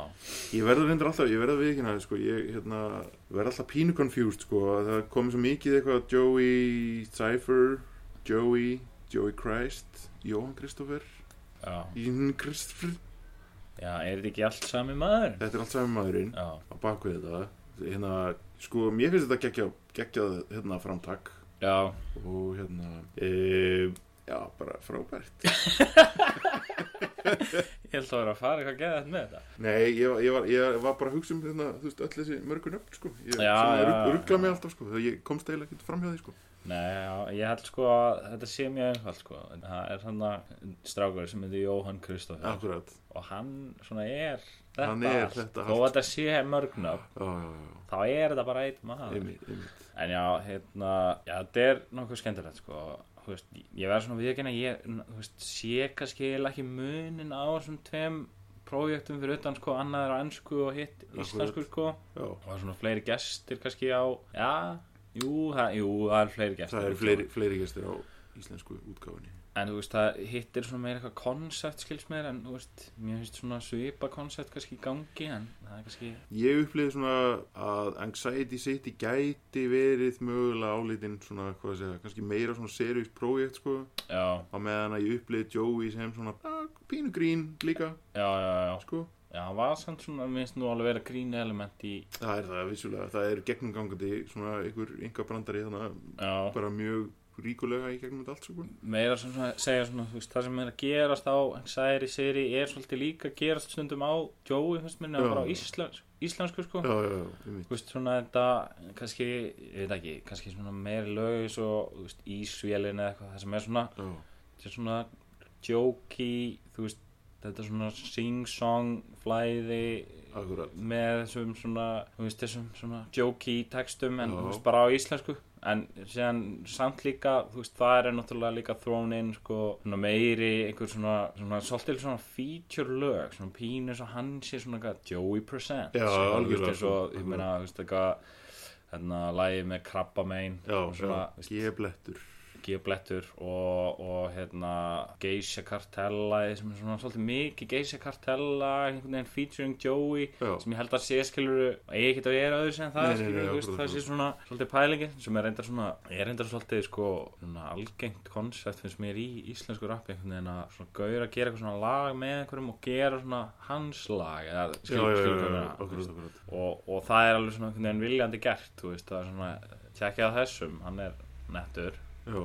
S5: Ég verða reyndur alltaf, ég verða við ekki næði sko, ég hérna, verða alltaf pínu confused sko, að það komið svo mikið eitthvað Joey Cypher, Joey, Joey Christ, Jóhann Kristoffer,
S1: já,
S5: Jón Kristoffer,
S1: já, er þetta ekki allt sami maður?
S5: þetta er allt saman maðurinn
S1: Já,
S5: á bakvið þetta, hérna, sko, mér finnst þetta geggjað, geggjað hérna framtak
S1: já,
S5: og hérna, e, já, bara frábært.
S1: ég held að vera að fara eitthvað geðað með þetta
S5: Nei, ég, var- ég, var, ég var bara að hugsa um hérna, þú veist, öll þessi mörgun upp sko, ég
S1: Já,
S5: svona
S1: já,
S5: rugg-
S1: já.
S5: ruggla mig alltaf sko, þegar ég komst eiginlega ekkert framhjá því sko.
S1: Nei, já, ég held sko að þetta sé mjög einfalt sko Það er hann að strákur sem heitir Jóhann Kristoffer
S5: Akkurat.
S1: Og hann svona er þetta
S5: Hann er
S1: allt.
S5: þetta
S1: Þó að
S5: allt.
S1: þetta sé mörgnöf,
S5: Já, já, já.
S1: þá er þetta bara einn maður
S5: einmitt, einmitt.
S1: En já, hérna, já, þetta er nokkuð skemmtilegt, sko. Þú veist, ég verð svona viðkynna, ég, þú veist, sé kannski eiginlega ekki munin á þessum tveim prófjöktum fyrir utan, sko, annað er á ennsku og hitt íslensku, sko.
S5: Já.
S1: Og það er svona fleiri gestir kannski á, já, jú, það, jú, það er fleiri gestir. sko.
S5: Það eru fleiri, fleiri gestir á íslensku útgáfinni
S1: en þú veist það hittir svona meira eitthvað konsept skilst meira en þú veist mér finnst svona svipa konsept kannski í gangi en það er kannski
S5: Ég upplýði svona að Anxiety City gæti verið mögulega álítinn svona, hvað að segja, kannski meira svona serious project sko,
S1: já,
S5: á meðan að ég upplýði Joey sem svona ah, pínu grín líka,
S1: já, já, já,
S5: sko.
S1: já hann var samt svona mér finnst nú alveg vera grín element í
S5: Það er það vissulega, það er gegnumgangandi svona einhver ynga brandari þannig að
S1: já,
S5: bara mjög ríkulega í gegnum þetta allt sko.
S1: meira sem svona segja svona þú veist það sem er að gerast á Anxiety Siri er svolítið líka að gerast stundum á Joey finnst mér
S5: Já.
S1: nefnir bara á íslens, íslensku sko
S5: Já, já, já, ég
S1: Þú veist svona þetta, kannski, ég veit ekki, kannski svona meiri lög svo, þú veist, ísvélin eða eitthvað, það sem er svona,
S5: Já,
S1: þetta er svona jokey, þú veist, þetta er svona sing-song flæði
S5: akkurat.
S1: með þessum svona, þú veist, þessum svona jokey textum en
S5: Já.
S1: þú veist bara á íslensku. En síðan samt líka, þú veist, það er náttúrulega líka thrown in, sko, svona meiri, einhver svona, svona, svolítið svona feature lög, svona pínu svo hann sé svona eitthvað Joey Percent.
S5: Já, algjörlega,
S1: Svo,
S5: sko,
S1: ég meina, þú veist, eitthvað, þarna, lagið með krabba mein,
S5: Já,
S1: svona, þú
S5: já, geblettur.
S1: Geoblettur og, og hérna Geisha Cartella sem er svona svolítið mikið Geisha Cartella einhvern veginn featuring Joey
S5: Já.
S1: sem ég held að sé skilur eigi ekkert að vera öðru sem það
S5: Nei, nei, nei,
S1: skilur, þú veist, það
S5: akkurat,
S1: sé svona svolítið pælingin sem er reyndar svona, er reyndar svolítið sko, svona algengt konsept finnst mér í íslensku rappi einhvern veginn að svona gaur að gera eitthvað svona lag með einhverjum og gera svona hans lag eða
S5: Já,
S1: skilur,
S5: já, já,
S1: skilur,
S5: já,
S1: skilur,
S5: já, akkurat, akkurat.
S1: og, og það er alveg svona einhvern veginn viljandi gert, þú veist, það er svona tjekkið að þessum, hann er nettur
S5: Já,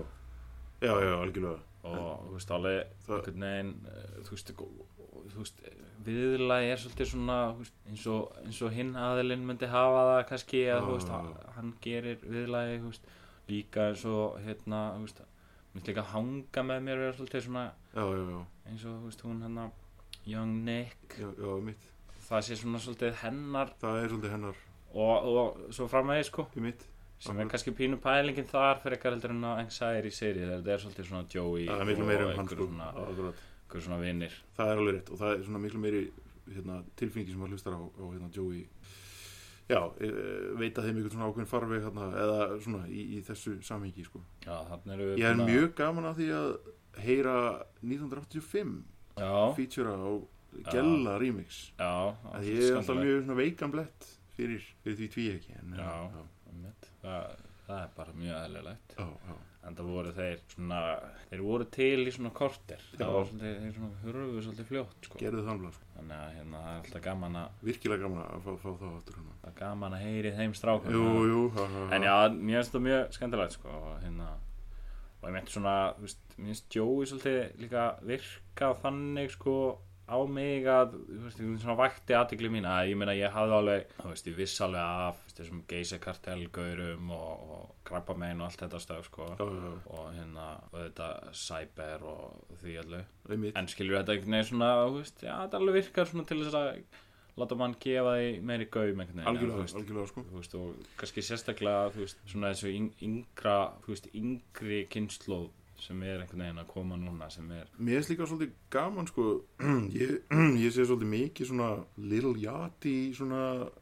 S5: já, já, algjörlega.
S1: og þú veist alveg
S5: Það-
S1: einhvern veginn eh, þú veist, og- og- þú veist viðlagi er svolítið svona þú veist, eins og, eins og hinn aðilinn myndi hafa það kannski að þú veist
S5: Já, já,
S1: hann- hann gerir viðlagi þú veist, líka eins og hérna þú veist myndi líka hanga með mér vera svolítið svona
S5: Já, já, já,
S1: eins og þú veist hún hérna Young Nick
S5: já, já, mitt.
S1: það sé svona svolítið hennar
S5: Það er svolítið hennar,
S1: og, og svo framvegi sko
S5: í mitt.
S1: sem
S5: Mhm.
S1: er kannski pínu pælingin þar fyrir eitthvað heldur en að Anxiety serið þetta er svolítið svona Joey
S5: Það er miklu meira um
S1: og
S5: hann,
S1: einhver
S5: sko.
S1: svona,
S5: Akkurat.
S1: einhver svona vinnir
S5: það er alveg rétt og það er svona miklu meiri hérna, tilfingi sem að hlustar á, á hérna, Joey já, e, e, veita þeim einhvern svona ákveðin farveg hérna, eða svona í, í þessu samhengi sko.
S1: Já, þannig erum við
S5: ég er
S1: búin að-
S5: mjög gaman að því að heyra 1985
S1: Já,
S5: feature á Gella remix
S1: já
S5: að ég er alltaf mjög svona veikan blett fyrir, fyrir því tví ekki en,
S1: Já.
S5: já,
S1: mjög það, það er bara mjög aðlilegt
S5: já, já.
S1: En það voru þeir svona Þeir voru til í svona korter
S5: Já.
S1: Það var svolítið, þeir svona hurfu svolítið fljótt sko.
S5: gerðu það alveg sko.
S1: Þannig að hérna, það er alltaf gaman að
S5: virkilega gaman að fá, fá þá aftur hérna.
S1: það er gaman að heyri þeim strákum
S5: jú, jú, ha, ha, ha.
S1: En já, mér finnst það mjög skemmtilegt sko, og hérna, og ég meint svona þú veist, mér finnst Jói svolítið líka virka þannig sko á mig að, þú veist, einhvern veginn svona vakti aðtikli mín að ég meina ég hafði alveg þú veist, ég viss alveg af þú veist, þessum geysakartelgaurum og, og krabbamein og allt þetta stöf sko
S5: já, já, já,
S1: og hérna, og þetta cyber og því allu
S5: einmitt
S1: en skilur þetta einhvern veginn svona, þú veist, já, þetta alveg virkar svona til þess að láta mann gefa því meiri gaum einhvern veginn þú
S5: algjörlega,
S1: veist
S5: algjörlega sko.
S1: þú veist, og kannski sérstaklega þú veist, svona þessu yng- yngra þú veist, yngri kynnslóð sem er einhvern veginn að koma núna sem er
S5: Mér finnst líka svolítið gaman sko, [clears throat] ég, ég sé svolítið mikið svona Lil Yachty svona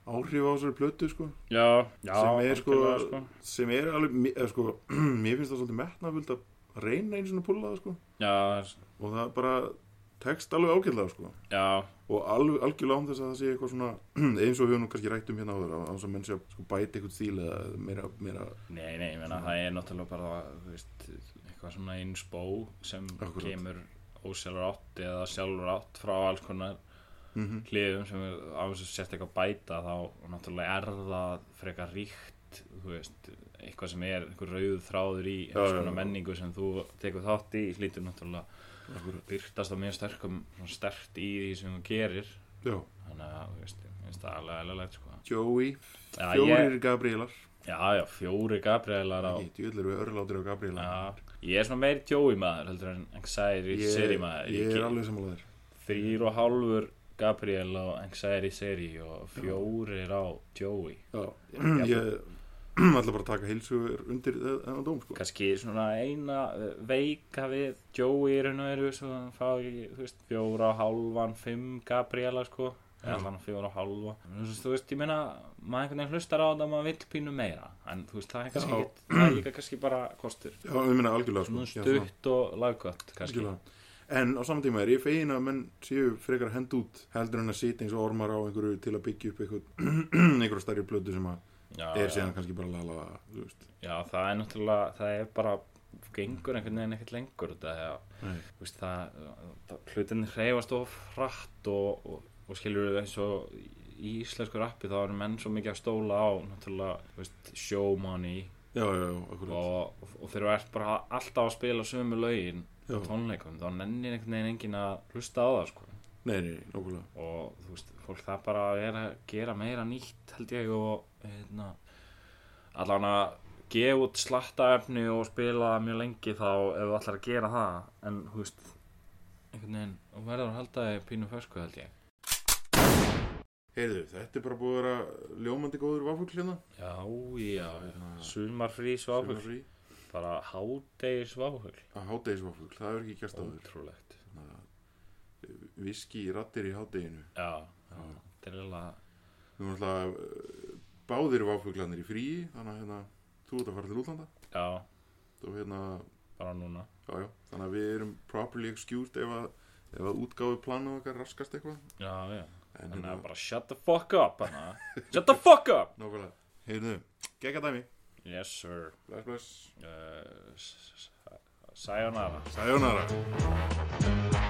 S5: áhrif á þessari plötu sko,
S1: já, já,
S5: sem er sko,
S1: algjörlega, sko.
S5: sem er alveg, mi- eða, sko, [clears throat] mér finnst það svolítið metnafullt að reyna einu svona púla sko,
S1: já,
S5: og það bara tekst alveg ágætlega sko,
S1: já,
S5: og alveg, algjörlega án þess að það sé eitthvað svona, [clears throat] eins og við höfum nú kannski rætt um hérna áður, án þess að menn sé að sko, bæta eitthvað stíl eða meira, meira,
S1: nei, nei, ég meina það er náttúrulega bara, þú veist, eitthvað svona innspó sem
S5: Akkurat.
S1: kemur ósjálfur átt eða sjálfur átt frá alls konar
S5: mm
S1: hliðum sem er á þess að setja eitthvað bæta þá náttúrulega er það frekar ríkt þú veist, eitthvað sem er einhver rauð þráður í einhvers
S5: já,
S1: konar
S5: já.
S1: menningu sem þú tekur þátt í hlýtur náttúrulega
S5: Akkurat.
S1: byrtast á mjög sterkum svona stert í því sem þú gerir
S5: já,
S1: þannig að þú veist, ég finnst það alveg alveg sko.
S5: Joey,
S1: já,
S5: fjórir
S1: ég,
S5: Gabríelar,
S1: já, já, fjóri Gabrielar á
S5: ekki, djúðlega eru örlátir á Gabríelar.
S1: já, ég er svona meiri tjói maður heldur en anxiety
S5: Ég-
S1: seri maður
S5: Ég
S1: ge-
S5: er alveg sammála þér
S1: þrýr og hálfur Gabriel á Anxiety Seri og fjórir á Joey
S5: [clears throat] Já, ég ætla bara að taka heilsugur undir þennan dóm sko.
S1: kannski svona eina eh, veika við Joey í raun og veru svo hann fá í, þú veist, fjóra, hálfan, fimm Gabriela sko eða allan fjóra og hálfa En þú veist, þú veist, ég meina, maður einhvern veginn hlustar á þetta og maður vill pínu meira en þú veist, það er kannski,
S5: Já.
S1: ekkit- það er líka kannski bara kostur
S5: Já, ég meina algjörlega sko.
S1: svona
S5: Já, svona,
S1: stutt og lagkvætt kannski
S5: algjörlega. En á saman tíma er ég fegin að menn séu frekar hend út heldur en að sitja eins og ormar á einhverju til að byggja upp [clears throat] einhver, einhverju stærri plötu sem að
S1: já,
S5: er
S1: já,
S5: síðan kannski bara lala, þú veist.
S1: já, það er náttúrulega, það er bara gengur einhvern veginn ekkert lengur þetta er
S5: Nei.
S1: þú veist, það, það hlutinni hreyfast of hratt og, og, og skilur eins og í íslensku rappi þá eru menn svo mikið að stóla á náttúrulega, þú veist, show money
S5: Já, já, já, akkurat.
S1: og, og þegar þú ert bara alltaf að spila sömu lögin
S5: Já.
S1: á tónleikum þá nennir einhvern veginn enginn að hlusta á það sko.
S5: Nei, nei, nei, nákvæmlega.
S1: og þú veist, fólk það bara er að gera meira nýtt held ég og hérna, allan að gefa út slattaefni og spila það mjög lengi þá ef þú ætlar að gera það en þú veist einhvern veginn, þú verður að halda þig pínu fersku held ég
S5: Heyrðu, þetta er bara búið að vera ljómandi góður vafugl hérna.
S1: Já, já, sumarfrí sváfugl
S5: Sumarfrí.
S1: bara hádegi sváfugl
S5: Að hádegisvafugl, það er ekki gert áður.
S1: ótrúlegt
S5: Viski í rattir í hádeginu.
S1: Já, já, þetta er eiginlega
S5: Við erum alltaf uh, báðir vafuglanir í fríi, þannig að hérna, þú ert að fara til útlanda.
S1: Já,
S5: Og hérna,
S1: bara núna
S5: já, já, þannig að við erum properly excused ef að, ef að útgáfi planu okkar raskast eitthvað.
S1: Já, já
S5: En
S1: Þannig að
S5: hérna,
S1: bara shut the fuck up hana. Shut the fuck up
S5: nákvæmlega. Heyrðu, gegga dæmi.
S1: Yes sir
S5: Bless, bless.
S1: uh, s- s- s- Sayonara
S5: Sayonara.